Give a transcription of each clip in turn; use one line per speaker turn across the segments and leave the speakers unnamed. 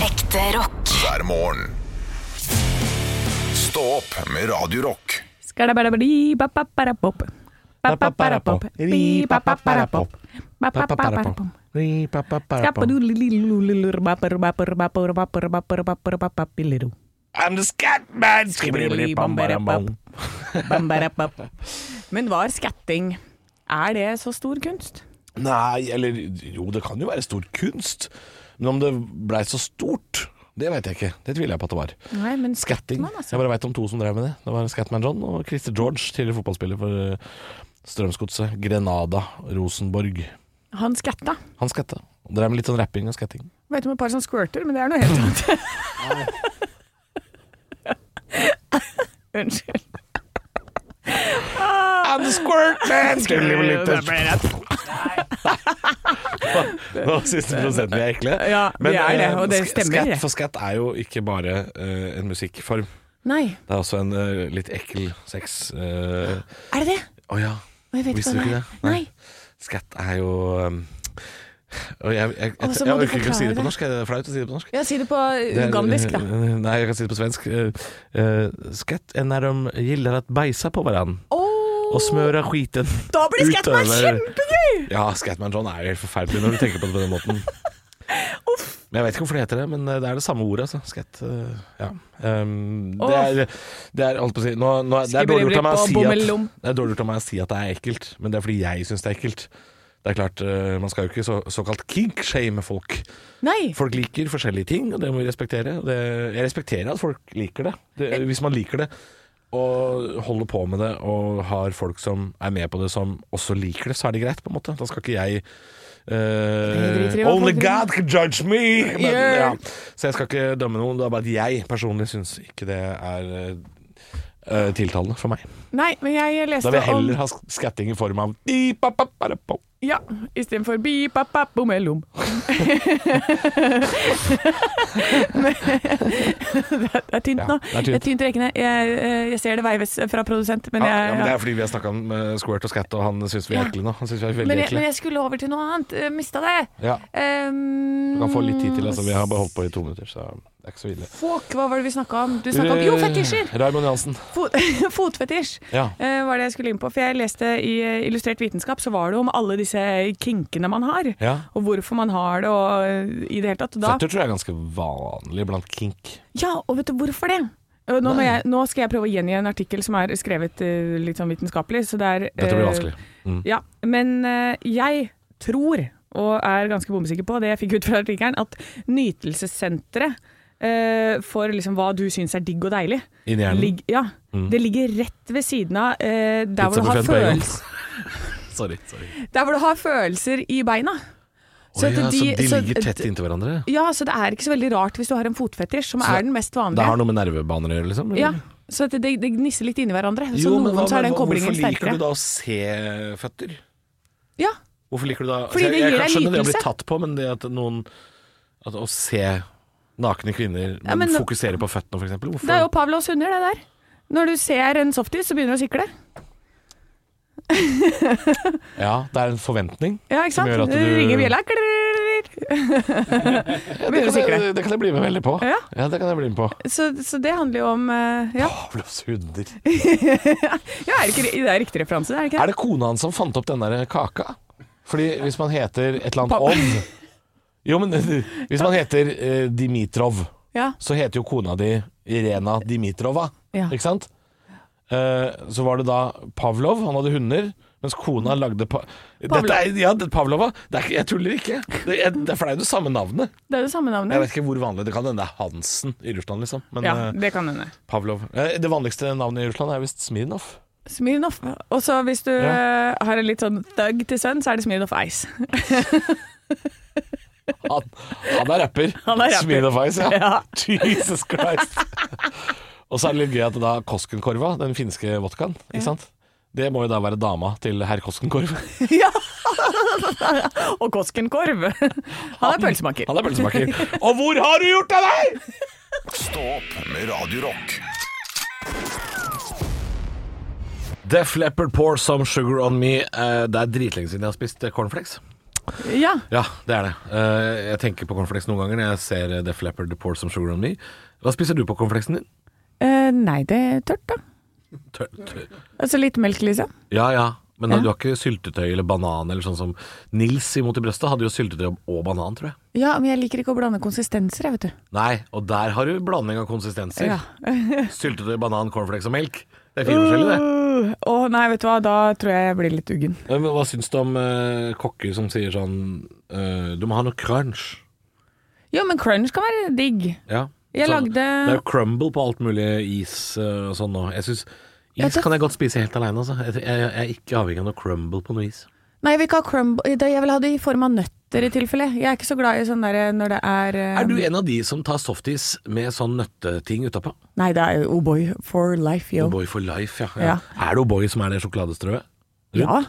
Ekte rock.
hver morgen. Stå opp med Radio Rock.
Skadabarabari, bapaparapop. Bapaparapop. Bi, bapaparapop. Bapaparapop.
I'm
Skapadulililululur, bapar, bapar, bapar, bapar, bapar, bapar, bapapiliru.
the scat man
Bambarapap. Men var skatting Er det så stor kunst?
Nei, eller jo, det kan jo være stor kunst. Men om det blei så stort, det veit jeg ikke. Det tviler jeg på at det var.
Nei, men
Skatting.
Skatman, altså.
Jeg bare veit om to som drev med det. Det var Scatman John og Christer George, tidligere fotballspiller for eh, Strømsgodset, Grenada, Rosenborg.
Han skatta.
Han skatta. Drev med litt sånn rapping og skatting.
Vet om et par som squirter, men det er noe helt annet. Unnskyld.
I'm the squirt man! Nå synes prosenten vi er ekle.
Ja, vi er det,
eh,
og det
sk- Skatt,
stemmer, det.
for skatt er jo ikke bare eh, en musikkform.
Nei,
Det er også en eh, litt ekkel sex... eh,
er det det?
Å ja,
Og jeg vet
visste du
hva
ikke det?
er. Nei.
Skatt er jo um, og jeg, jeg, jeg,
Og så
jeg,
må du
orker ikke å si
forklare
det på
det.
norsk. Er det flaut å si det på norsk?
Ja, si det på
Det er-
ugandisk, da.
Nei, jeg kan si det på svensk. Eh, eh, Skatt er når de gillar att bajsa på varann
Åh,
og smøra skiten
da blir Skatman
utover-
kjempegøy!
Ja, Scatman John er jo helt forferdelig når du tenker på det på den måten. Men Jeg vet ikke hvorfor det heter det, men det er det samme ordet. Altså. Skat, øh, ja. Um, det, er, det er holdt på å si nå, nå, det, er dårlig gjort av meg å si at,
Skibberibri på
det er dårlig gjort av meg å si at det er ekkelt, men det er fordi jeg syns det er ekkelt. Det er klart, øh, Man skal jo ikke så, såkalt kinkshame folk.
Nei,
Folk liker forskjellige ting, og det må vi respektere. Og Det, jeg respekterer at folk liker det. det. Hvis man liker det og holder på med det og har folk som er med på det som også liker det, så er det greit, på en måte. Da skal ikke jeg
driter i
eh,
hva
Only
folk
God can judge me! Men,
Yeah.
ja. Så jeg skal ikke dømme noen. Det er bare at jeg personlig syns ikke det er eh, tiltalende for meg.
nei, men jeg leste
Da vil jeg
om
heller ha sk- skatting i form av di-pa-pa-pa-ra-po.
Ja, istedenfor bi pa pa bom elom. det er tynt
Ja,
nå.
det er tynt.
Det er tynt i rekkene. Jeg, eh, jeg ser det veives fra produsent, men
Ja, ja, men det
jeg
er fordi vi har snakka om eh, squirt og skatt, og han syns vi er
Ja.
ekle nå. Han synes vi er veldig
men jeg,
ekle.
men jeg skulle over til noe annet. Eh, Mista det.
Ja,
Um,
du kan få litt tid til. Altså. Vi
Mm.
har bare holdt på i to minutter, så det er ikke så ille.
Fuck, hva var det vi snakka om? Du
Eh.
snakka om Jo, fetisjer!
Raymond Johansen.
Fot, fotfetisj.
Ja.
eh, var det jeg skulle inn på. For jeg leste i eh, Illustrert vitenskap, så var det om alle disse kinkene man har.
ja.
Og hvorfor man har det, og eh, i det hele tatt. Og Da,
Føtter tror jeg er ganske vanlig blant kink.
ja, og vet du hvorfor det? Eh, Nå, må jeg, nå skal jeg prøve å gjengi en artikkel som er skrevet eh, litt sånn vitenskapelig. Så det er,
Dette blir
eh,
vanskelig. Mm.
Ja, men eh, jeg tror, og er ganske bombesikker på, det jeg fikk ut fra artikkelen, at nytelsessenteret eh, for liksom hva du syns er digg og deilig,
Inni hjernen.
ligg- ja, det ligger rett ved siden av eh, der,
Mm. Pizza
hvor du har
buffet på en gang.
følels,
Sorry. sorry.
der hvor du har følelser i beina.
Så,
at
ja, så de
så-
ligger tett inntil hverandre?
Ja, så det er ikke så veldig rart hvis du har en fotfetisj, som
Så
er den mest
Det
vanlige.
har noe med nervebaner å gjøre, liksom? eller?
Ja, så at det, det gnisser litt inni hverandre. Så
Jo, men
noen
hva-
så er den
hva-
koblingen
Hvorfor liker
sterkere.
du da å se føtter?
Ja,
Hvorfor liker du da Altså,
Fordi det
jeg, jeg kan
gir deg
skjønne det å bli
nytelse.
tatt på, men det at noen at Å se nakne kvinner men,
Ja, men-
fokusere på føttene, for eksempel. Hvorfor?
det er jo Pavlos hunder, det der. Når du ser en softis, så begynner du å sikle.
Ja, det er en forventning.
Ja, ikke
Som
sant?
gjør at
Du...
du-
Ringer bjella. klirr.
Det
begynner å
kan,
sikle.
jeg, det kan jeg bli med veldig på.
Ja.
det kan jeg bli med på.
Så, så det handler jo om eh, Ja,
Pavlos hunder.
ja er det, ikke, det er riktig referanse, er det ikke
Er
det?
det kona hans som fant opp den der kaka? Fordi hvis man heter et eller annet
Pa-
Odd Jo, men hvis man heter eh, Dimitrov,
Ja.
så heter jo kona di Irena Dimitrova,
Ja.
ikke sant? Eh, så var det da Pavlov, han hadde hunder, mens kona lagde pa Dette er, ja, det- Pavlova. Det er, ikke- jeg tuller ikke. Det er, det er for det er jo det samme navnet.
Det er det samme
Jeg
navnet.
vet ikke hvor vanlig det kan hende det er Hansen i Russland, liksom. Men
Ja,
eh,
det kan hende.
Pavlov eh, Det vanligste navnet i Russland er visst Smirnov.
Smirnov. Og så hvis du
Ja.
eh, har en litt sånn thug til sønn, så er det Smirnov Ice.
Han, han er rapper.
Han er rapper.
Smirnoff Ice, ja.
Ja.
Jesus Christ. Og så er det litt gøy at da Koskenkorva, den finske vodkaen, ikke sant? Det må jo da være dama til herr Koskenkorv.
Ja! Og Koskenkorv. Han er pølsemaker.
Han er pølsemaker. Og hvor har du gjort av deg?!
Stå opp med Radio Rock.
Def Leppard Pour Some Sugar On Me. Eh, Det er dritlenge siden jeg har spist eh, cornflakes.
Ja.
Ja, det er det. Eh, jeg tenker på cornflakes noen ganger når jeg ser eh, Def Leppard Pour Some Sugar On Me. Hva spiser du på cornflakesen din?
Eh, nei, det er tørt, da.
Tør, tør.
Altså litt melk, liksom.
Ja, ja. Men
Ja.
du har ikke syltetøy eller banan eller sånn som Nils imot i brøstet hadde jo syltetøy og banan, tror jeg.
Ja, men jeg liker ikke å blande konsistenser, jeg, vet du.
Nei, og der har du blanding av konsistenser.
Ja.
Syltetøy, banan, cornflakes og melk. Det er fint forskjellig, det.
Uh, Å nei, vet du hva, da tror jeg jeg blir litt uggen.
Ja, Men hva syns du om eh, kokker som sier sånn eh, Du må ha noe crunch.
Jo, men crunch kan være digg.
Ja.
Jeg
sånn,
lagde-
Det er jo crumble på alt mulig is eh, og sånn nå. Jeg synes,
Ja,
Is
det-
kan jeg godt spise helt aleine, altså. Jeg, jeg, jeg er ikke avhengig av noe crumble på noe is.
Nei, jeg vil ikke ha crumble da- Jeg vil ha det i form av nøtter i tilfelle. Jeg er ikke så glad i sånn derre når det er eh,
Er du en av de som tar softis med sånn nøtteting utapå?
Nei, det er jo O'boy for life, yo.
O'boy for life, ja.
Ja.
Er det O'boy som er det sjokoladestrøet?
Ja. Ja.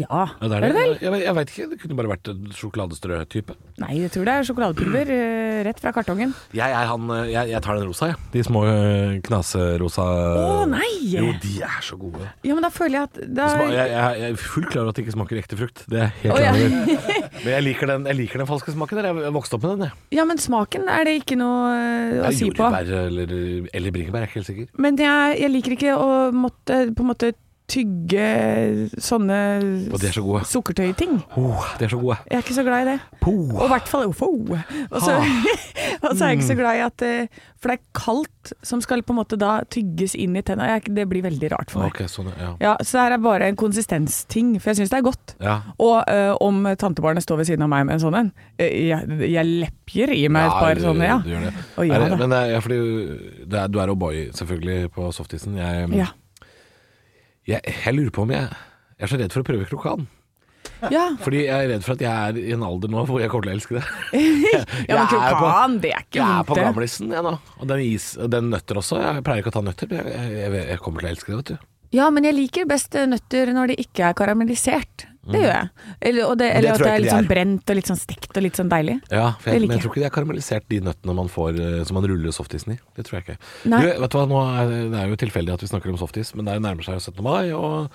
Ja, det er det. Jeg, jeg veit ikke, det kunne bare vært en sjokoladestrø-type.
Nei, jeg tror det er sjokoladepulver eh, rett fra kartongen.
Jeg er han eh, Jeg, jeg tar den rosa, jeg. De små eh, knaserosa
Å
Eh, Jo,
nei!
de er så gode.
Ja, men da føler jeg at da,
Det sma- jeg, jeg, jeg er fullt klar over at det ikke smaker ekte frukt. Det er jeg helt
Å, ja.
klar over. Men jeg liker, den, jeg liker den falske smaken. Der. Jeg vokste opp med den. Jeg.
Ja, men smaken er det ikke noe eh, å
Jeg
si på.
Jordbær eller, eller bringebær, jeg er ikke helt sikker.
Men jeg, jeg liker ikke å måtte på en måte tygge sånne
Og de er så gode.
sukkertøyting.
Oh, de er så gode.
Jeg er ikke så glad i det.
Po.
Og i hvert fall ufo. Og så, og så er
Mm.
jeg ikke så glad i at eh, For det er kaldt som skal på en måte da tygges inn i tenna. Jeg er ikke- Det blir veldig rart for meg.
Ok, sånn, ja.
Ja, Så det her er bare en konsistensting, for jeg syns det er godt.
Ja.
Og eh, om tantebarnet står ved siden av meg med en sånn en eh, jeg, jeg lepjer i meg et
Ja,
par
du- du
sånne, ja.
gjør det.
Å, ja
Er det-
da.
men det er, ja, fordi det er, du er O'boy selvfølgelig på softisen. Jeg,
Ja.
jeg, jeg lurer på om jeg Jeg er så redd for å prøve krokan.
ja.
Fordi jeg er redd for at jeg er i en alder nå hvor jeg kommer til å elske det.
Ja, men
Jeg er på-
krokan, det er ikke
Jeg er på
vondt, det.
gamlisen, jeg nå. Og den, is, den nøtter også. Jeg pleier ikke å ta nøtter, men jeg, jeg, jeg, jeg kommer til å elske det, vet du.
Ja, men jeg liker best eh, nøtter når de ikke er karamellisert. Det gjør jeg. Eller, og det, eller
Mm. tror
at det
jeg
er
ikke
litt
de
sånn
er.
brent og litt sånn stekt og litt sånn deilig.
Ja, for
Det
jeg,
liker
men jeg
jeg.
tror ikke de er karamellisert, de nøttene man får eh, som man ruller softisen i. Det tror jeg ikke.
Nei.
Du, vet du hva, nå er, det- det er jo tilfeldig at vi snakker om softis, men det er jo nærmer seg jo 17. mai, og,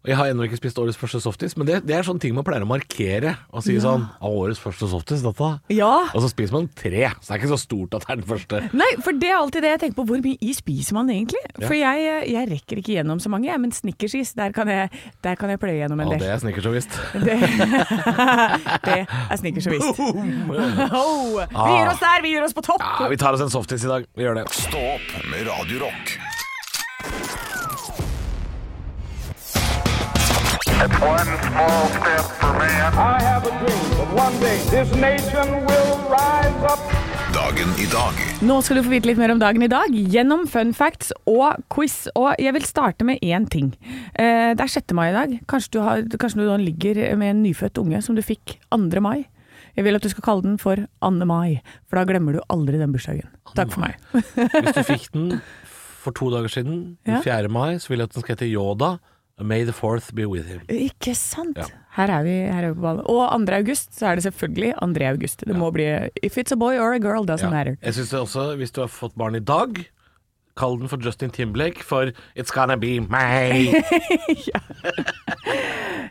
og jeg har ennå ikke spist årets første softis. Men det, det er sånne ting man pleier å markere og si sånn Av årets første softis, dette.
Ja.
Og så spiser man tre, så det er ikke så stort at det er den første.
Nei, for det er alltid det jeg tenker på. Hvor mye is spiser man egentlig?
Ja.
For jeg, eh, jeg rekker ikke gjennom så mange, jeg, men snickersis, der kan jeg, der kan jeg pløye gjennom en
Ja,
del.
det snikker så visst.
Det, det er snickers og visst. Oh, vi gir oss der, vi gir oss på topp!
Ja, vi tar oss en softis i dag. Vi gjør det.
Stå opp med Radio Rock.
It's one small step for man.
I have a dream that one day this nation will rise up.
Dagen i dag
Nå skal du få vite litt mer om dagen i dag gjennom fun facts og quiz. Og jeg vil starte med én ting. Eh, Det er 6. mai i dag. Kanskje du, har, kanskje du da ligger med en nyfødt unge som du fikk 2. mai. Jeg vil at du skal kalle den for Anne Mai, for da glemmer du aldri den bursdagen. Takk for meg.
Hvis du fikk den for to dager siden, den
Ja.
4. mai, så vil jeg at den skal hete Yoda. May the fourth be with him.
Ikke sant?
Ja.
Her, er vi, her er vi på ballen. Og 2. august så er det selvfølgelig 2. august. Det må bli If it's a boy or a girl, doesn't
Ja.
matter.
Jeg synes det også, Hvis du har fått barn i dag, kall den for Justin Timblake for It's Gonna Be May.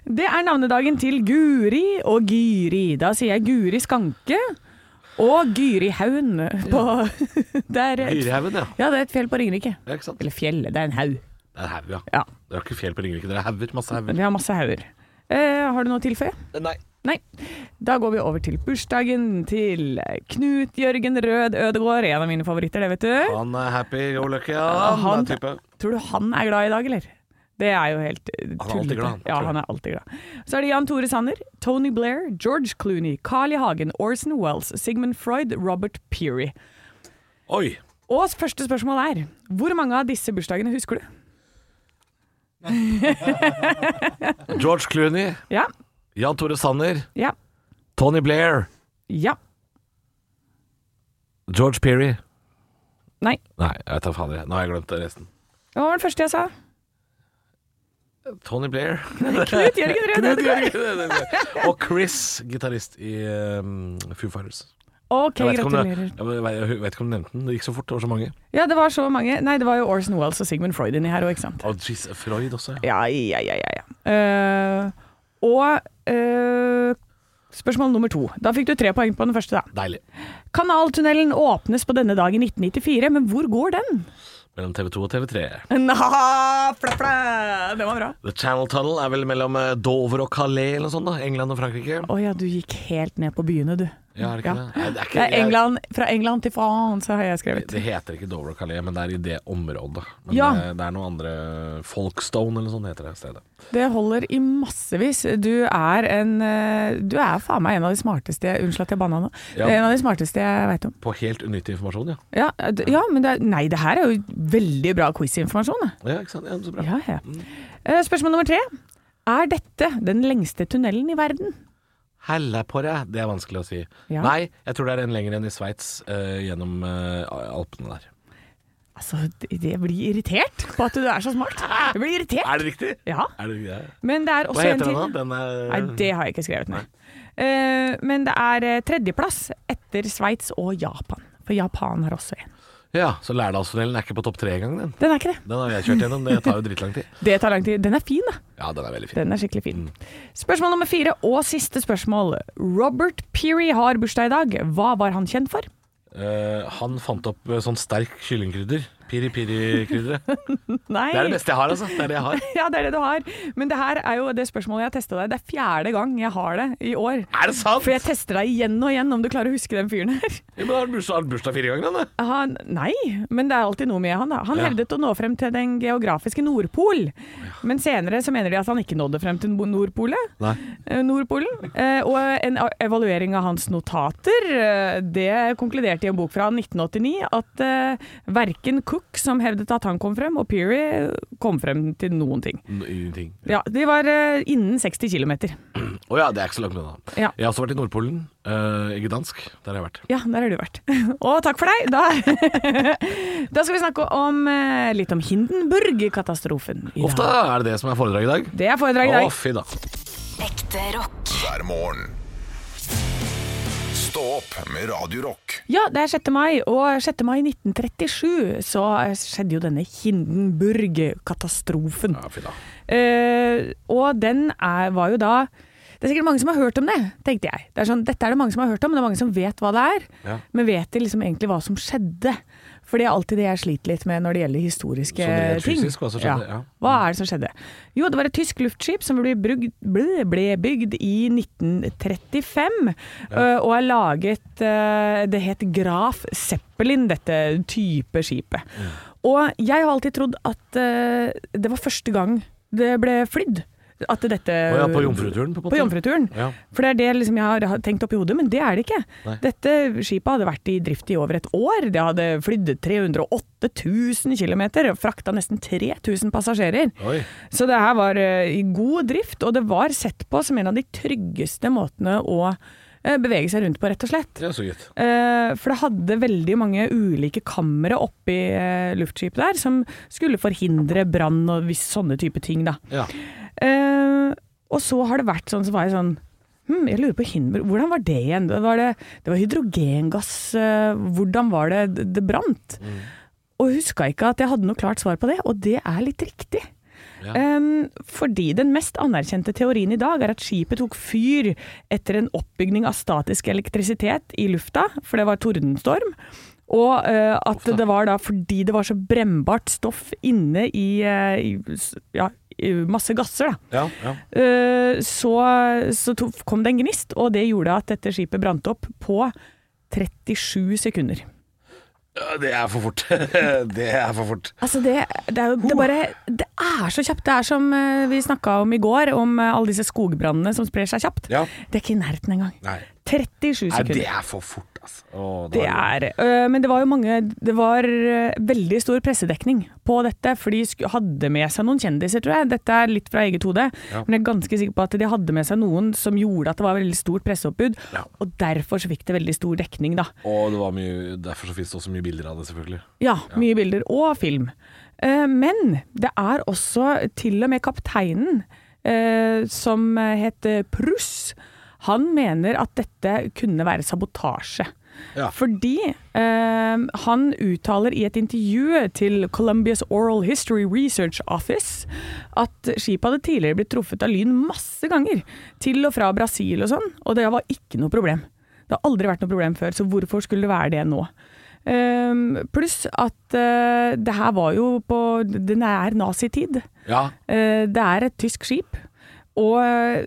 Det er navnedagen til Guri og Gyri. Da sier jeg Guri Skanke og Gyri Haun. På, det er et,
Dyrehaugen, ja.
ja, det er et fjell på Ringerike.
ja. Ikke sant?
Eller fjell, det er en haug.
Det er haug, ja.
Ja.
Det er ikke fjell på Ringerike, dere er hauger. Masse hauger.
Vi har masse hauger. Eh, har du noe å tilføye?
Nei.
Nei. Da går vi over til bursdagen til Knut Jørgen Rød Ødegård. En av mine favoritter, det vet du.
Han er happy go lucky, ja.
han-
Han er type.
Tror du han er glad i dag, eller? Det er jo helt eh,
er
tullete.
alltid glad, han,
Ja,
tror jeg.
han er alltid glad. Så er det Jan Tore Sanner, Tony Blair, George Clooney, Carl I. Hagen, Orson Wells, Sigmund Freud, Robert Peary.
Oi.
Og første spørsmål er hvor mange av disse bursdagene husker du?
George Clooney,
Ja,
Jan Tore Sanner,
ja,
Tony Blair,
ja.
George Peary.
Nei.
Nei, jeg vet da faen. jeg. Nå har jeg glemt resten.
Hva var den første jeg sa?
Tony Blair.
Knut Jørgen Rød
Knut
Ødegård.
Jørgen Ødegaard. Og Chris, gitarist i um, Foo Fighters.
Ok,
Jeg vet, ikke om det,
gratulerer.
jeg vet- jeg vet ikke om du nevnte den. Det gikk så fort, det var så mange.
Ja, det var så mange. Nei, det var jo Orson Wells og Sigmund Freud inni her òg, ikke sant?
Og jeez, Freud også. ja.
Ja, ja, ja, ja. ja. Eh, og eh, Spørsmål nummer to. Da fikk du tre poeng på den første, da.
Deilig.
Kanaltunnelen åpnes på denne dag i 1994, men hvor går den?
Mellom TV 2 og TV 3.
Naha, fla, fla. Det var bra.
The Channel Tunnel er vel mellom eh, Dover og Calais eller noe sånt, da. England og Frankrike.
Å ja, du gikk helt ned på byene, du.
Ja, er det ikke det? Nei, det er ikke-
Det er England, fra England til France har jeg skrevet.
Det heter ikke Dover og Calais, men det er i det området. Men eh,
Ja.
det, det er noe andre Folkstone eller noe sånt heter det stedet.
Det holder i massevis. Du er en eh, Du er faen meg en av de smarteste Unnskyld at jeg banna nå.
Ja.
En av de smarteste jeg veit om.
På helt unyttig informasjon, ja.
Ja, eh, d- ja men det er, Nei, det her er jo veldig bra quizinformasjon. da.
Ja, ikke sant? Ja, så bra.
Ja, ja. Eh, Spørsmål nummer tre. Er dette den lengste tunnelen i verden?
Helle på deg, det er vanskelig å si.
Ja.
Nei, jeg tror det er en lenger enn i Sveits, eh, gjennom eh, Alpene der.
Altså, det det blir irritert på at du er så smart. Jeg blir irritert.
Er det riktig?
Ja.
Er det, ja.
Men det er
Hva
også en
heter
til.
den da? Den er,
Nei, det har jeg ikke skrevet ned. Eh, men det er eh, tredjeplass etter Sveits og Japan. For Japan har også en.
Ja, så Lærdalstunnelen er ikke på topp tre engang, den.
Den er ikke det.
Den har jeg kjørt gjennom, det tar jo dritlang tid.
Det tar lang tid. Den er fin, da.
Ja, den er veldig fin.
Den er skikkelig fin.
Mm.
Spørsmål nummer fire og siste spørsmål. Robert Peary har bursdag i dag. Hva var han kjent for?
Eh, han fant opp eh, sånn sterk kyllingkrydder. Piri-piri-krydderet. Det
Nei.
er det beste jeg har, altså. Det er det jeg har.
Ja, det er det du har. Men det her er jo det spørsmålet jeg har testa deg. Det er fjerde gang jeg har det i år.
Er det sant?
For jeg tester deg igjen og igjen om du klarer å huske den fyren her.
Ja, men har han bursdag, har han bursdag fire ganger, han, da?
Han, nei, men det er alltid noe med han. da. Han
Ja.
hevdet å nå frem til den geografiske Nordpol, men senere så mener de at han ikke nådde frem til Nordpolet.
Nei.
eh, Nordpolen, eh, og en a- evaluering av hans notater eh, Det konkluderte i en bok fra 1989 at eh, verken Cook, som hevdet at han kom frem, og Peary eh, kom frem til noen ting.
Ingenting.
Ja, De var eh, innen 60 km.
Å ja, det er ikke så langt unna.
Ja.
Jeg har også vært i Nordpolen, eh, i Gdansk. Der har jeg vært.
Ja, der har du vært. Og takk for deg! Da, da skal vi snakke om, eh, litt om Hindenburg-katastrofen. i dag.
Ofte er det det som er foredraget i dag.
Det er foredrag i
Å,
dag.
fy da.
Ekte rock.
hver morgen. Stå opp med Radio Rock.
Ja, det er 6. mai, og 6. mai 1937 så eh, skjedde jo denne Hindenburg-katastrofen.
Ja, fy da.
Eh, og den er, var jo da Det er sikkert mange som har hørt om det, tenkte jeg. Det er sånn, Dette er det mange som har hørt om, men det er mange som vet hva det er.
Ja.
Men vet de liksom egentlig hva som skjedde? For det er alltid det jeg sliter litt med når det gjelder historiske
Sånn rent
ting.
fysisk, hva som skjedde, ja.
Hva er det som skjedde? Jo, det var et tysk luftskip som ble, brugd, ble, ble bygd i 1935. eh, og er laget eh, Det het Graf Zeppelin, dette type skipet. Og jeg har alltid trodd at eh, det var første gang det ble flydd. At dette
Å ja, på jomfruturen, på en måte.
Eh, På jomfruturen.
Ja.
For det er det liksom jeg har tenkt oppi hodet, men det er det ikke.
Nei.
Dette skipet hadde vært i drift i over et år. Det hadde flydd 308 000 km og frakta nesten 3000 passasjerer.
Oi.
Så det her var eh, i god drift, og det var sett på som en av de tryggeste måtene å eh, bevege seg rundt på, rett og slett.
Det er så gitt.
Eh, For det hadde veldig mange ulike kamre oppi eh, luftskipet der, som skulle forhindre brann og vis- sånne type ting, da.
Ja.
Eh, og så har det vært sånn, så var jeg sånn Hm, jeg lurer på Hindenburg, hvordan var det igjen? Det var, det, det var hydrogengass, eh, hvordan var det det, det brant? Og huska ikke at jeg hadde noe klart svar på det, og det er litt riktig.
Ja.
Em, fordi den mest anerkjente teorien i dag er at skipet tok fyr etter en oppbygning av statisk elektrisitet i lufta, for det var tordenstorm. Og eh, at det var da fordi det var så brennbart stoff inne i, eh, i s- ja, i masse gasser, da.
Ja, ja.
Eh, så så to, kom det en gnist, og det gjorde at dette skipet brant opp på 37 sekunder.
Ja, Det er for fort. det er for fort.
Altså det, det er jo det bare Det er så kjapt. Det er som eh, vi snakka om i går, om eh, alle disse skogbrannene som sprer seg kjapt.
Ja.
Det er ikke i nærheten engang.
Nei.
37
Nei, det
sekunder.
er for fort, altså. Å,
Det er, øh, men det var jo mange Det var øh, veldig stor pressedekning på dette, for de sku- hadde med seg noen kjendiser, tror jeg. Dette er litt fra eget hode,
Ja.
men jeg er ganske sikker på at de hadde med seg noen som gjorde at det var veldig stort presseoppbud,
Ja.
og derfor så fikk det veldig stor dekning, da.
Og det var mye, derfor så finnes det også mye bilder av det, selvfølgelig.
Ja, mye bilder og film. Eh, Men det er også til og med kapteinen, eh, som het Pruss, han mener at dette kunne være sabotasje.
Ja.
Fordi eh, han uttaler i et intervju til Columbia's Oral History Research Office at skipet hadde tidligere blitt truffet av lyn masse ganger, til og fra Brasil og sånn, og det var ikke noe problem. Det har aldri vært noe problem før, så hvorfor skulle det være det nå? Eh, pluss at eh, det her var jo på Det er nazitid.
Ja.
Eh, Det er et tysk skip, og eh,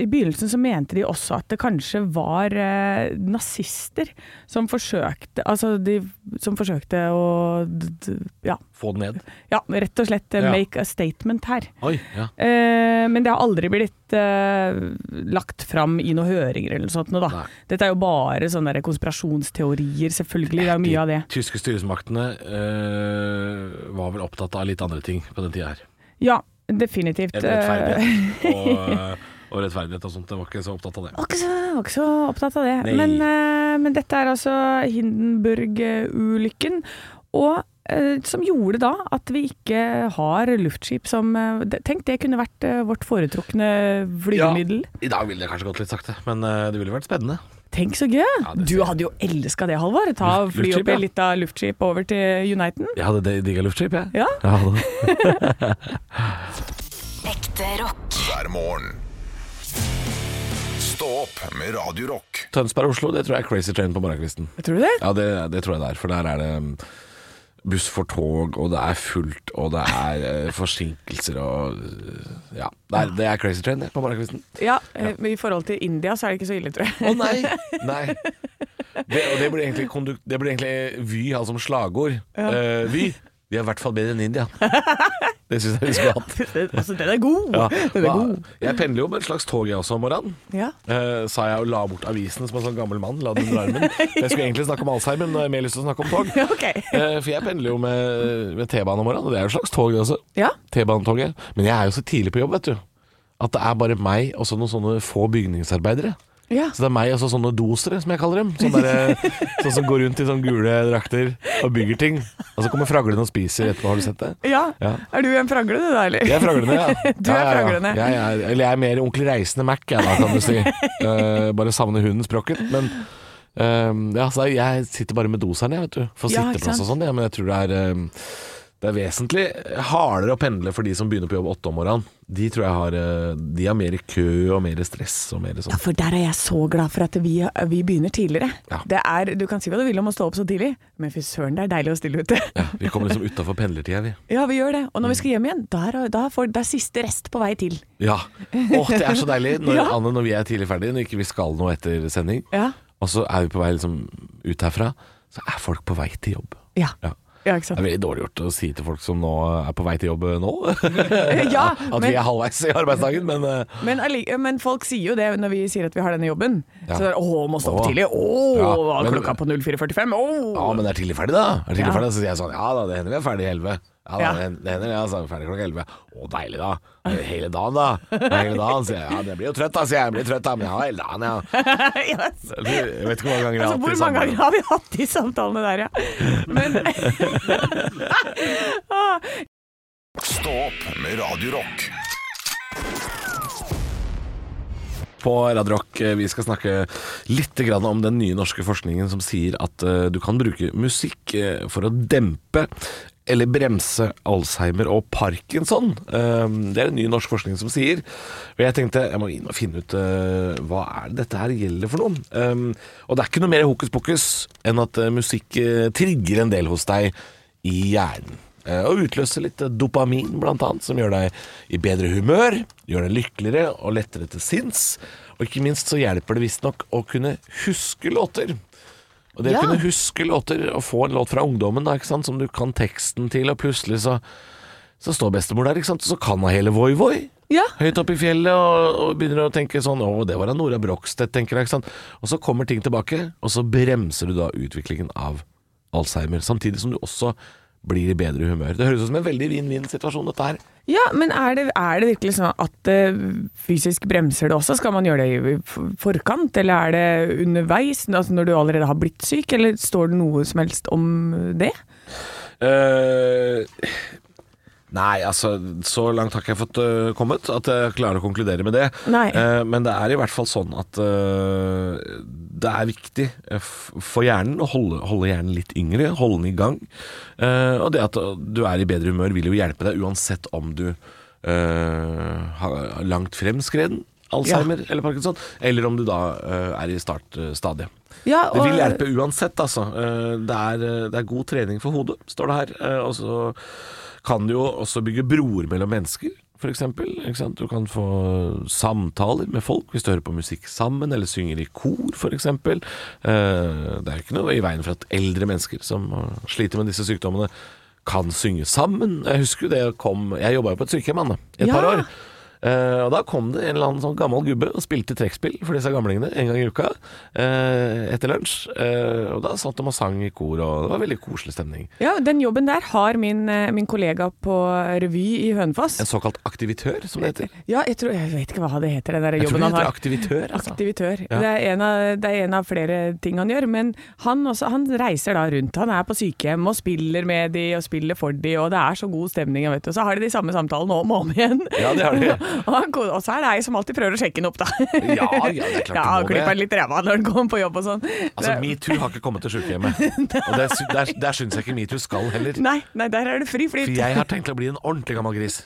i begynnelsen så mente de også at det kanskje var eh, nazister som forsøkte Altså, de som forsøkte å d- d- ja,
Få den ned.
ja, rett og slett eh,
Ja.
make a statement her.
Oi. Ja.
Eh, men det har aldri blitt eh, lagt fram i noen høringer eller noe sånt. Nå,
Nei.
da. Dette er jo bare sånne der konspirasjonsteorier, selvfølgelig. Det er jo mye av det.
De tyske styresmaktene eh, var vel opptatt av litt andre ting på den tida her.
Ja, definitivt.
Enn
Eh,
rettferdighet og, eh, og rettferdighet og sånt. Jeg var ikke så opptatt av det.
var ikke så, var ikke så opptatt av det.
Nei.
Men, eh, men dette er altså Hindenburg-ulykken. Og eh, som gjorde da at vi ikke har luftskip som eh, det- Tenk, det kunne vært eh, vårt foretrukne flygemiddel.
I dag ville det kanskje gått litt sakte, men eh, det ville vært spennende.
Tenk så gøy!
det
du
ser jeg.
hadde jo elska det, Halvor. Ta
Luft-
fly
luftskip,
opp i
ja.
et lite luftskip over til Uniten.
Jeg hadde digga luftskip, jeg.
Ja.
Jeg hadde det.
Ekte rock.
hver morgen. Stå opp med Radio Rock.
Tønsberg og Oslo, det tror jeg er Crazy Train på morgenkvisten.
Tror du det?
Ja, det, det tror jeg det er, for der er det mm, buss for tog, og det er fullt, og det er eh, forsinkelser og eh, Ja. Det er, det er Crazy Train det, på morgenkvisten.
Ja, eh, men i forhold til India så er det ikke så ille, tror jeg.
Å nei! Nei. Det, og det blir egentlig, kondu- det blir egentlig Vy, altså som slagord. Eh, vy. De er i hvert fall bedre enn India. Det syns jeg vi skulle hatt.
altså, den er god!
Ja.
Den er god.
Jeg pendler jo med et slags tog jeg også om morgenen.
Ja.
Eh, sa jeg og la bort avisen som en sånn gammel mann. La den under armen. Jeg skulle egentlig snakke om Alzheimer, men nå har jeg mer lyst til å snakke om tog.
Ok.
Eh, for jeg pendler jo med, med T-banen om morgenen, og det er jo et slags tog det også.
Ja.
T-banetoget. Men jeg er jo så tidlig på jobb, vet du. At det er bare meg og så noen sånne få bygningsarbeidere.
ja.
Så det er meg og så sånne dosere, som jeg kaller dem. Sånne, der, sånn som går rundt i sånne gule drakter og bygger ting. Og så kommer fraglene og spiser etterpå, har du sett det?
Ja.
Ja.
Er du en fragle, du da, eller?
Jeg er fraglende, ja.
Du er
Ja, ja, ja.
fraglende.
Jeg er, eller jeg er mer onkel Reisende Mac, jeg da, kan du si. Eh, bare savner hunden språket. Men eh, ja, så jeg sitter bare med doseren, jeg, vet du. For
Ja, ikke
sitteplass og sånn, ja, men jeg tror det er eh, det er vesentlig hardere å pendle for de som begynner på jobb åtte om morgenen. De tror jeg har eh, De har mer kø og mer stress og mer
Ja,
sånn.
for der er jeg så glad for at vi, vi begynner tidligere.
Ja.
Det er, du kan si hva du vil om å stå opp så tidlig, men fy søren, det er deilig å stille ute.
Ja, Mm. vi kommer liksom utafor pendlertida, vi.
Ja, vi gjør det. Og når vi skal hjem igjen, da er, da er, folk- da er siste rest på vei til.
Ja. Åh, det er så deilig når,
Ja.
Anne, når vi er tidlig ferdig, når ikke vi skal noe etter sending,
Ja.
og så er vi på vei liksom ut herfra, så er folk på vei til jobb.
Ja,
Ja.
ja
Det
ikke
er
sant?
veldig dårlig gjort å si til folk som nå er på vei til jobb eh, nå,
Ja,
at vi
men,
er halvveis i arbeidsdagen, men eh,
men, alli- men folk sier jo det når vi sier at vi har denne jobben.
Ja.
Så det er, åh, må stå opp
Åh.
tidlig. Åh,
Ja,
var
men-
klokka på 04.45. Åh.
ja, men det er tidlig ferdig, da. Er tidlig
Ja.
ferdig, så sier jeg sånn Ja da, det hender vi er ferdig i elleve. Ja, da,
Ja.
det hen- det hender ja, så er vi ferdig klokka elleve. Å, deilig, da. Eh, Hele dagen, da. Hele dagen, sier jeg. Ja, det blir jo trøtt, da, sier jeg. Jeg blir trøtt, da, men ja, hele dagen, ja.
Yes.
Jeg vet ikke hvor mange ganger jeg har
Altså,
hatt det
hvor mange
samme.
ganger har vi hatt de samtalene der, ja? Men,
Stå opp med Radio Rock.
på Radio Rock. Eh, Vi skal snakke litt grann om den nye norske forskningen som sier at eh, du kan bruke musikk eh, for å dempe eller bremse Alzheimer og Parkinson. Eh, Det er en ny norsk forskning som sier. Og jeg tenkte jeg må inn og finne ut eh, hva er det dette her gjelder for noe. Eh, Og det er ikke noe mer hokus pokus enn at eh, musikk eh, trigger en del hos deg i hjernen. Eh, Og utløse litt eh, dopamin, blant annet, som gjør deg i bedre humør, gjør deg lykkeligere og lettere til sinns. Og ikke minst så hjelper det visstnok å kunne huske låter. Og det å
Ja.
kunne huske låter og få en låt fra ungdommen da, ikke sant, som du kan teksten til, og plutselig så, så står bestemor der, ikke sant, så kan hun hele Voi Voi.
ja.
Høyt oppe i fjellet og, og begynner å tenke sånn Å, det var av Nora Brogstedt, tenker jeg. Ikke sant? Og så kommer ting tilbake, og så bremser du da utviklingen av Alzheimer. Samtidig som du også blir i bedre humør. Det høres ut som en veldig vinn-vinn-situasjon, dette her.
Ja, men er det, er det virkelig sånn at det fysisk bremser det også? Skal man gjøre det i f- forkant, eller er det underveis, altså når du allerede har blitt syk, eller står det noe som helst om det?
Eh, Nei, altså, så langt har ikke jeg fått øh, kommet at jeg klarer å konkludere med det.
Nei.
Eh, men det er i hvert fall sånn at øh, det er viktig eh, f- for hjernen å holde, holde hjernen litt yngre, holde den i gang. Eh, og det at øh, du er i bedre humør vil jo hjelpe deg uansett om du øh, har langt fremskreden Alzheimer eller Parkinson, eller om du da øh, er i startstadiet.
Ja,
Det vil
og-
hjelpe uansett, altså. Eh, Det er, eh, det er god trening for hodet, står det her. Eh, Og så kan du jo også bygge broer mellom mennesker, f.eks. Du kan få samtaler med folk hvis du hører på musikk sammen, eller synger i kor, f.eks. Det er jo ikke noe i veien for at eldre mennesker som eh, sliter med disse sykdommene, kan synge sammen. Jeg husker jo det kom Jeg jobba jo på et sykehjem Anne, i et
Ja.
par år. Eh, og da kom det en eller annen sånn gammel gubbe og spilte trekkspill for disse gamlingene en gang i uka eh, etter lunsj. Eh, og da satt de og sang i kor, og det var veldig koselig stemning.
Ja, Den jobben der har min, eh, min kollega på revy i Hønefoss.
En såkalt aktivitør, som det heter.
Ja, jeg, tror, jeg vet ikke hva det heter, den der
Jeg tror
jobben
det
han
heter
har.
aktivitør. Altså.
Aktivitør.
Ja.
Det, er en av, det er en av flere ting han gjør. Men han, også, han reiser da rundt. Han er på sykehjem og spiller med de og spiller for de, og det er så god stemning. Vet du. Og så har de de samme samtalene om og om igjen.
Ja, det har de.
og, han, ko- og så er det ei som alltid prøver å sjekke den opp, da.
Ja, ja, det er klart
ja,
du må
han klipper
det.
litt ræva når han kommer på jobb og sånn.
Altså,
Det-
metoo har ikke kommet til sykehjemmet. Og der, sy- der, der syns jeg ikke metoo skal heller.
Nei, nei, der er det fri flyt.
For jeg har tenkt å bli en ordentlig gammel gris.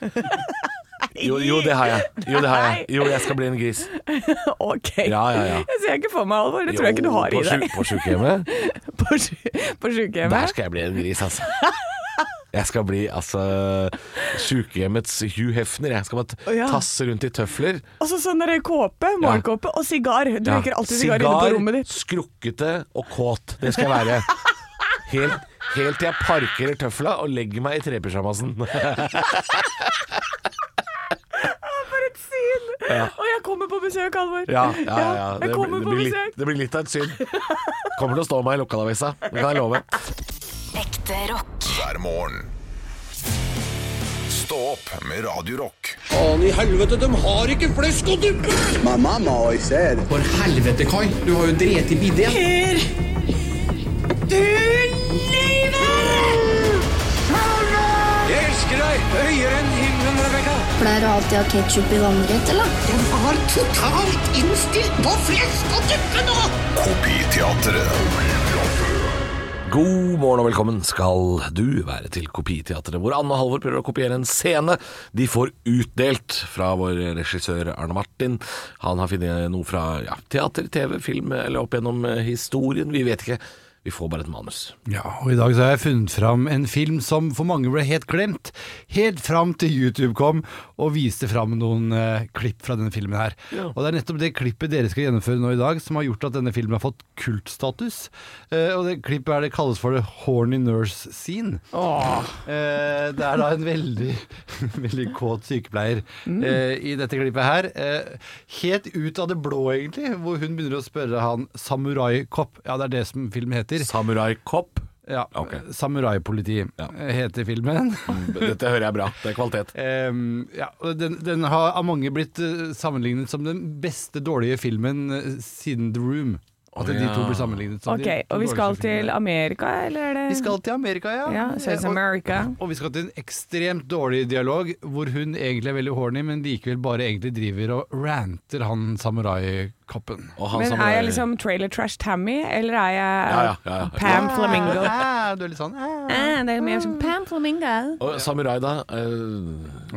Jo, jo det har jeg. Jo, det har jeg. Jo, jeg skal bli en gris.
Ok.
Ja, ja, ja.
Jeg ser ikke for meg alvor. Det tror jeg ikke du har
Jo,
i
på
deg.
sju- På sykehjemmet
På, sju- på
Der
sykehjemmet.
skal jeg bli en gris, altså. Jeg skal bli altså sjukehjemmets Hugh Hefner. Jeg skal bare
Å, ja.
tasse rundt i tøfler.
Og så sånn der kåpe, morgenkåpe og sigar. Du
Ja.
røyker alltid sigar inne på rommet ditt.
skrukkete og kåt. Det skal jeg være. Helt, helt til jeg parkerer tøfla og legger meg i trepysjamasen.
For et syn! Og jeg kommer på besøk, Halvor.
Ja, ja, ja.
Ja,
Det,
Jeg
blir-
kommer
det,
på
blir litt,
besøk.
det blir litt av et syn. Kommer til å stå meg i lokalavisa, det kan jeg love.
Ekte rock.
hver morgen. Stå opp med Radio Rock.
Faen i helvete, de har ikke flesk og duppe!
My mama always said,
For helvete, Kai. Du har jo drept i bidé. Jeg elsker deg høyere enn himmelen, Rebekka.
Pleier du alltid å ha ketsjup i vannrett, eller?
var totalt innstilt på flesk og duppe nå!
Kopiteatret.
God morgen og velkommen skal du være til Kopiteatret, hvor Anne og Halvor prøver å kopiere en scene de får utdelt fra vår regissør Arne Martin. Han har funnet noe fra ja, teater, TV, film eller opp gjennom eh, historien. Vi vet ikke. Vi får bare et manus.
Ja, og i dag så har jeg funnet fram en film som for mange ble helt glemt, helt fram til YouTube kom og viste fram noen eh, klipp fra denne filmen her. Og det er nettopp det klippet dere skal gjennomføre nå i dag som har gjort at denne filmen har fått kultstatus. Eh, og det klippet er det kalles for The Horny Nurse Scene. Eh, det er da en veldig, veldig kåt sykepleier eh, i dette klippet her. Eh, helt ut av det blå, egentlig, hvor hun begynner å spørre han Samurai-kopp. Ja, det er det som filmen heter.
Samurai Cop.
Ja.
Ok.
Samuraipoliti eh,
Ja.
heter filmen.
Dette hører jeg bra. Det er kvalitet.
Ehm, ja, og den, den har av mange blitt eh, sammenlignet som den beste dårlige filmen eh, siden The Room. At
Å,
de to
ja.
blir
er
sammenlignet som
Ok, og
de
vi
dårligste
skal til
filmene.
Amerika, eller er det
Vi skal til Amerika, ja.
Ja, South
Eh, og-
America.
Og vi skal til en ekstremt dårlig dialog, hvor hun egentlig er veldig horny, men likevel bare egentlig driver og ranter han samuraikoppen.
Og han
Men er
samurai-
jeg liksom Trailer Trash Tammy, eller er jeg
Ja, ja, ja, ja.
Pam Flamingo?
Ah, du er litt sånn ah.
Eh, det er mer som Pam Flamingo.
Og samurai, da? eh,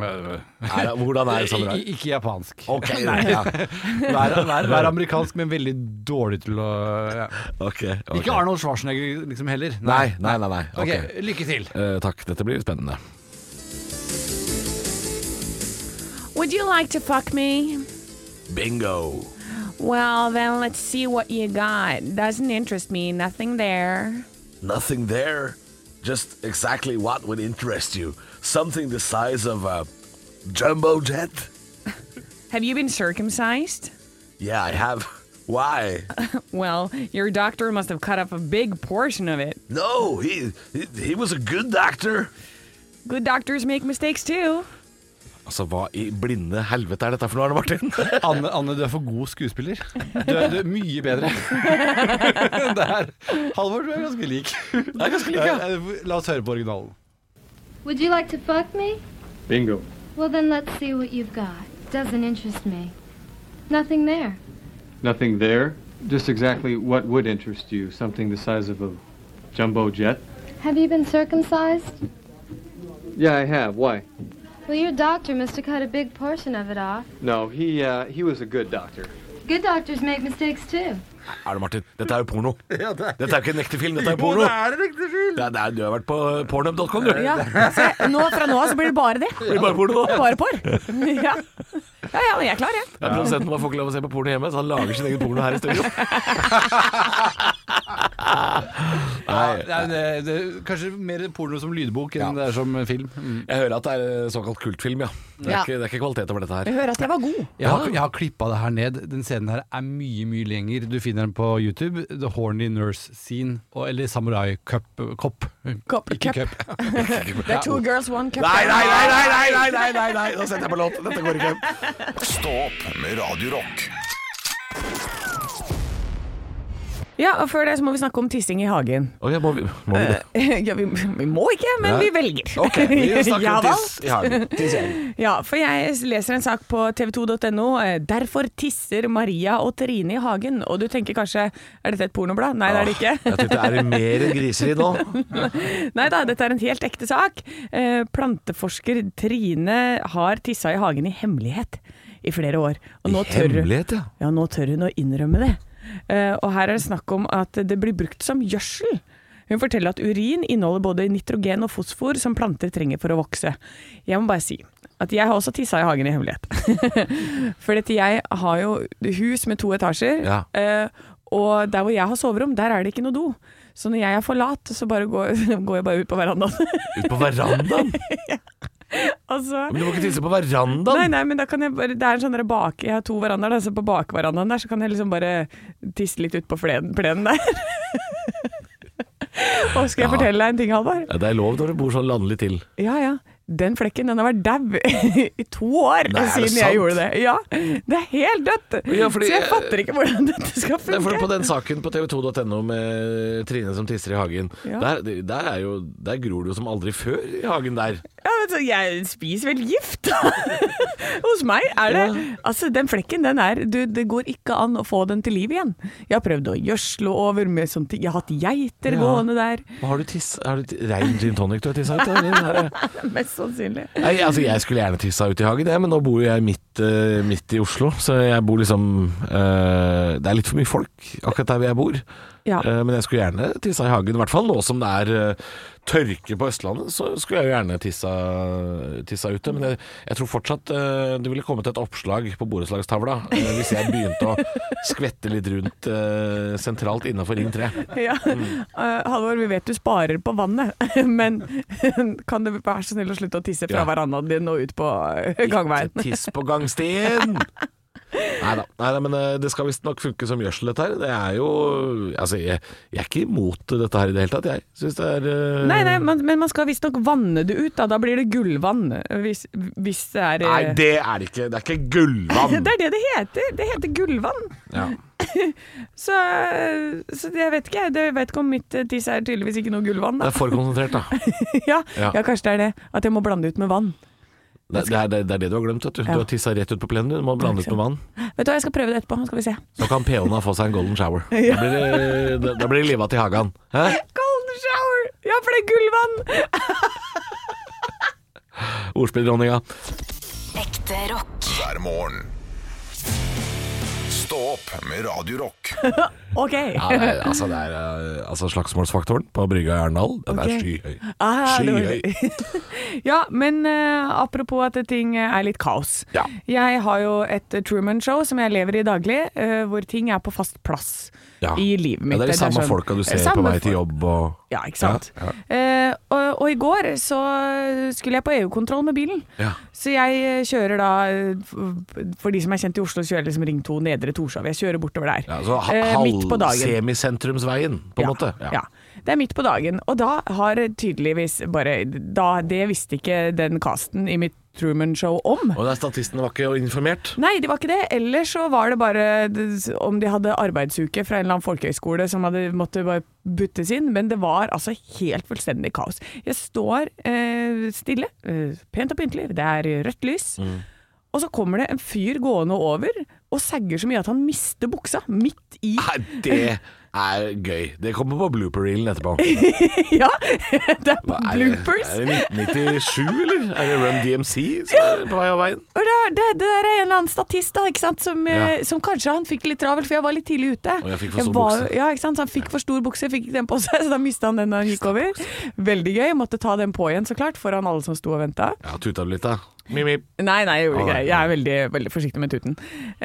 er, hvordan er samurai?
I- i- Ikke japansk.
Ok, ja.
Vær, vær, vær amerikansk, men veldig dårlig til å ja.
Ok, ok.
Ikke Arnold Schwarzenegger liksom heller.
Nei, nei, nei. nei.
Ok,
Ok.
Lykke til.
Eh, takk, dette blir spennende.
Would you like to fuck me?
Bingo!
Well, then let's see what you got. Doesn't interest me, nothing there.
Nothing there. Just exactly what would interest you. Something the size of a jumbo jet.
Have you been circumcised?
Yeah, I have. Why?
Well, your doctor must have cut off a big portion of it.
No, he, he, he was a good doctor.
Good doctors make mistakes too.
Altså, hva i blinde helvete er dette for noe, Arne Martin?
Anne, Anne, du er for god skuespiller. Du er, du er mye bedre. Der. Halvor, du er ganske lik.
ganske lik, ja.
Eh, La oss høre på originalen.
Would you like to fuck me?
Bingo.
Well, then let's see what you've got. Doesn't interest me. Nothing there.
Nothing there. Just exactly what would interest you? Something the size of a jumbo jet?
Have you been circumcised?
Yeah, I have. Why?
Well, your doctor must have cut a big portion of it off.
No, he uh, he was a good doctor.
Good doctors make mistakes too.
Er det Martin? Dette er jo porno. Dette er jo ikke en ekte film, dette er jo
Jo,
porno.
det er en ekte film.
Ja, det er, du har vært på eh, pornhub.com, du.
Ja, se, nå, fra nå av så blir det bare det.
blir bare porno, da.
Bare porr. Ja. ja, ja, men jeg er klar, jeg.
Ja, Produsenten vår får ikke lov å se på porno hjemme, så han lager sin egen porno her i studio. Nei.
Ja, det, er- det, er kanskje mer porno som lydbok enn det er som film. Mm.
Jeg hører at det er eh, såkalt kultfilm, ja. Det er,
Ja.
Ikke, det er ikke kvalitet over dette her.
hører at jeg var god.
Jeg har, jeg har klippa det her ned. Den scenen her er mye mye lenger. Du finner den på YouTube. The Horny Nurse Scene. Og, eller Samurai Cup. Kopp.
Cup.
Ikke cup.
Det er two girls, one cup.
Nei, nei, nei, nei, nei, nei, nei, nei, nei. Nå setter jeg på låt. Dette går ikke.
Stå opp med Radio Rock.
Ja, og før det så må vi snakke om tissing i hagen.
Å, ja, må vi, må vi det?
Eh, ja, vi, vi må ikke, men
Nei.
vi velger.
Ok, vi snakker om
Jeg har
tiss i
valgt.
hagen. Tiss i hagen.
ja, for jeg leser en sak på tv2.no. eh, 'Derfor tisser Maria og Trine i hagen'. Og du tenker kanskje er dette et pornoblad? Nei, det er det ikke.
Jeg tenkte, er det mer enn griseri nå?
Nei da, dette er en helt ekte sak. Eh, planteforsker Trine har tissa i hagen i hemmelighet i flere år. Og nå tør,
hemmelighet, ja.
ja, nå tør hun å innrømme det. Eh, og her er det snakk om at det blir brukt som gjødsel. Hun forteller at urin inneholder både nitrogen og fosfor som planter trenger for å vokse. Jeg må bare si at jeg har også tissa i hagen i hemmelighet. For dette, jeg har jo hus med to etasjer,
Ja.
eh, og der hvor jeg har soverom, der er det ikke noe do. Så når jeg er for lat, så bare går, går jeg bare ut på verandaen. Altså,
Ut på verandaen?
Og så-
Men du må ikke tisse på verandaen.
Nei, nei, men da kan jeg bare Det er en sånn der bak Jeg har to verandaer, da, så på bakverandaen der så kan jeg liksom bare tisse litt ut på fleden, plenen der. og skal
Ja.
jeg fortelle deg en ting, Halvor?
Ja, Det er lov når du bor sånn landlig til.
Ja ja. Den flekken den har vært dau i to år
Nei, er det
siden
sant?
jeg gjorde det. Ja, Det er helt dødt!
Ja, fordi-
så jeg fatter ikke hvordan dette skal
Det er for
funke.
på den saken på tv2.no med Trine som tisser i hagen,
Ja.
der, der, er jo, der gror det jo som aldri før i hagen der.
Ja, men så jeg spiser vel gift, da! Hos meg er det Altså, den flekken, den er du, Det går ikke an å få den til liv igjen. Jeg har prøvd å gjødsle over med sånt Jeg har hatt geiter
Ja.
gående der.
Og Har du tiss... Har du t- rein gin tonic du har tissa ut? eller? Er det-
Mest sannsynlig.
Nei, altså jeg skulle gjerne tissa ut i hagen, jeg, men nå bor jo jeg midt, eh, midt i Oslo. Så jeg bor liksom eh, Det er litt for mye folk akkurat der hvor jeg bor.
Ja.
Eh, men jeg skulle gjerne tissa i hagen. I hvert fall nå som det er eh, tørke på Østlandet, så skulle jeg jo gjerne tissa, tissa ute. Men jeg, jeg tror fortsatt eh, det ville kommet et oppslag på borettslagstavla eh, hvis jeg begynte å skvette litt rundt eh, sentralt innafor Ring 3.
Ja. Eh, Halvor, vi vet du sparer på vannet, men kan du være så snill å slutte å tisse fra
Ja.
verandaen din og ut på eh, gangveien?
Ikke tiss på gangstien! Neida, neida, men eh, det skal visstnok funke som gjødsel, dette her. Det er jo Altså, jeg, jeg er ikke imot dette her i det hele tatt, jeg. Syns det er eh,
Nei, nei, men, men man skal visstnok vanne det ut, da. Da blir det gullvann. eh, Hvis, hvis det er eh,
Nei, det er det ikke. Det er ikke gullvann.
Det er det det heter. Det heter gullvann.
Ja.
Så, så det- jeg vet ikke, jeg. Det- Jeg vet ikke om mitt eh, tiss er tydeligvis ikke noe gullvann,
Det
da.
er for konsentrert, da.
ja.
Ja.
ja, kanskje det er det. At jeg må blande ut med vann.
Det, det, er, det er det du har glemt. Vet du.
Ja.
du har tissa rett ut på plenen. Du må blande ut med vann.
Vet du hva, jeg skal prøve det etterpå. Skal vi se.
Så kan peoen ha få seg en golden shower. Da blir det, da- da blir det liva til hagan. Hæ?
Golden shower! Ja, for det er gullvann!
Ordspilldronninga.
Ekte rock.
hver morgen. Stå opp med Radio Rock.
Ok.
Ja, det er, altså, det er, eh, altså slagsmålsfaktoren på brygga i Arendal, den
Ok.
er skyhøy.
Ah, det var
skyhøy.
Ja, men eh, apropos at ting eh, er litt kaos.
Ja.
Jeg har jo et eh, Truman-show som jeg lever i daglig, eh, hvor ting er på fast plass
Ja.
i livet
Ja,
mitt.
det er de samme
sånn-
folka du ser
Samme
på vei til
folk.
jobb og
Ja, ikke sant. Eh, og, og i går så skulle jeg på EU-kontroll med bilen.
Ja.
Så jeg eh, kjører da, eh, f- for de som er kjent i Oslo, så kjører jeg liksom Ring 2 Nedre Torshov. Jeg kjører bortover der.
Ja, så ha-
Eh, midt på
halv
dagen.
semisentrumsveien, på en måte.
Ja. Det er midt på dagen, og da har tydeligvis bare da, Det visste ikke den casten i mitt Truman-show om.
Og der statistene var ikke informert.
Nei, de var ikke det. Eller så var det bare det- om de hadde arbeidsuke fra en eller annen folkehøyskole som hadde måtte bare buttes inn. Men det var altså helt fullstendig kaos. Jeg står eh, eh, stille, eh, pent og pyntelig, det er rødt lys.
Mm.
Og så kommer det en fyr gående over og sagger så mye at han mister buksa midt i
Nei, det er gøy. Det kommer på blooper-reelen etterpå.
Ja, det er på
Er det-
bloopers.
Er det 1997, eller? Er det Run DMC som er på vei av veien?
Og det, det, det der er en eller annen statist da, ikke sant? Som, eh,
Ja.
som kanskje han fikk litt travelt, for jeg var litt tidlig ute.
Og jeg fikk for stor
var-
bukse.
Ja, ikke sant? Så han fikk for stor bukse, fikk ikke den på seg, så da mista han den da han gikk over. Veldig gøy, måtte ta den på igjen så klart, foran alle som sto og venta.
Ja, tuta du litt, da? Mimip.
Nei, nei, jeg gjorde
Ah,
ikke det. Jeg er veldig, veldig forsiktig med tuten.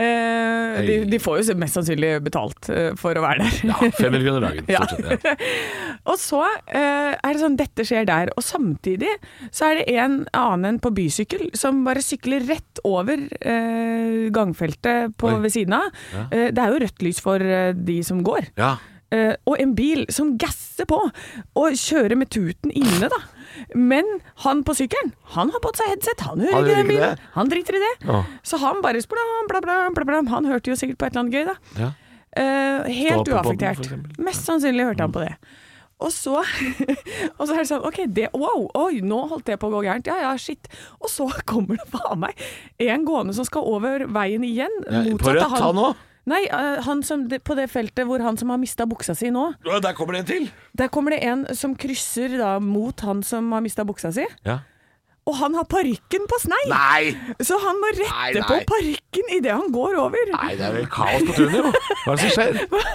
Eh, de,
Hei.
de får jo mest sannsynlig betalt eh, for å være der.
Ja, 500 kroner dagen.
Ja.
Stort sett. Ja.
Og så eh, er det sånn, dette skjer der. Og samtidig så er det en annen på bysykkel som bare sykler rett over eh, gangfeltet på,
Oi.
ved siden av.
Ja.
Eh, det er jo rødt lys for eh, de som går.
ja.
Eh, og en bil som gasser på og kjører med tuten inne, da. Men han på sykkelen, han har på seg headset, han hører
Han
ikke
gjør
den
ikke
bilen.
det.
Han driter i det.
Åh.
Så han bare splam, bla, bla, bla, bla. Han hørte jo sikkert på et eller annet gøy, da.
ja.
Eh,
Stå på
helt
podden,
uaffektert.
for eksempel. Mm.
Mest sannsynlig hørte han på det. Og så, og så er det sånn OK, det, wow, oi, nå holdt det på å gå gærent. Ja ja, shit. Og så kommer det faen meg en gående som skal over veien igjen.
Ja, på
motsatt av
rødt, han også?
Nei, eh, han som, det- på det feltet hvor han som har mista buksa si nå.
Å, Der kommer det en til!
Der kommer det en som krysser da mot han som har mista buksa si.
Ja.
Og han har parykken på snei!
Nei!
Så han må rette
Nei, nei.
på parykken idet han går over.
Nei, det er vel kaos på tunet, jo. Hva er det som skjer?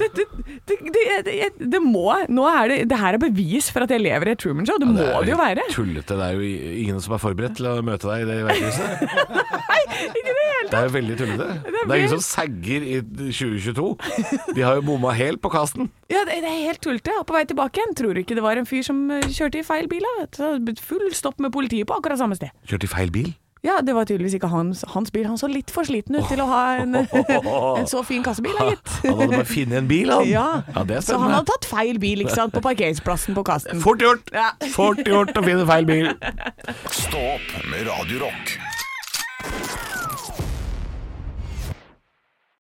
Dette- det, det, det, det må Nå er det Det her er bevis for at jeg lever i et Truman Show. Det må det jo være.
Tullete. Det er jo ingen som er forberedt til å møte deg i det verkhuset.
Ikke det hele
Det er jo veldig tullete. Det er ingen som sagger i 2022. De har jo bomma helt på casten.
Ja, det, det er helt tullete. Og på vei tilbake igjen tror du ikke det var en fyr som eh, kjørte i feil bil? da? Så det ble Full stopp med politiet på akkurat samme sted.
Kjørt i feil bil.
Ja, det var tydeligvis ikke hans, hans bil. Han så litt for sliten ut til å ha en, en så fin kassebil, da, gitt.
Han hadde bare funnet en bil, han.
Ja.
det er
Så han hadde
spennende.
tatt feil bil, ikke sant, på parkeringsplassen på Kasten.
Fort gjort!
Ja.
Fort gjort å finne feil bil.
Stå opp med Radio Rock.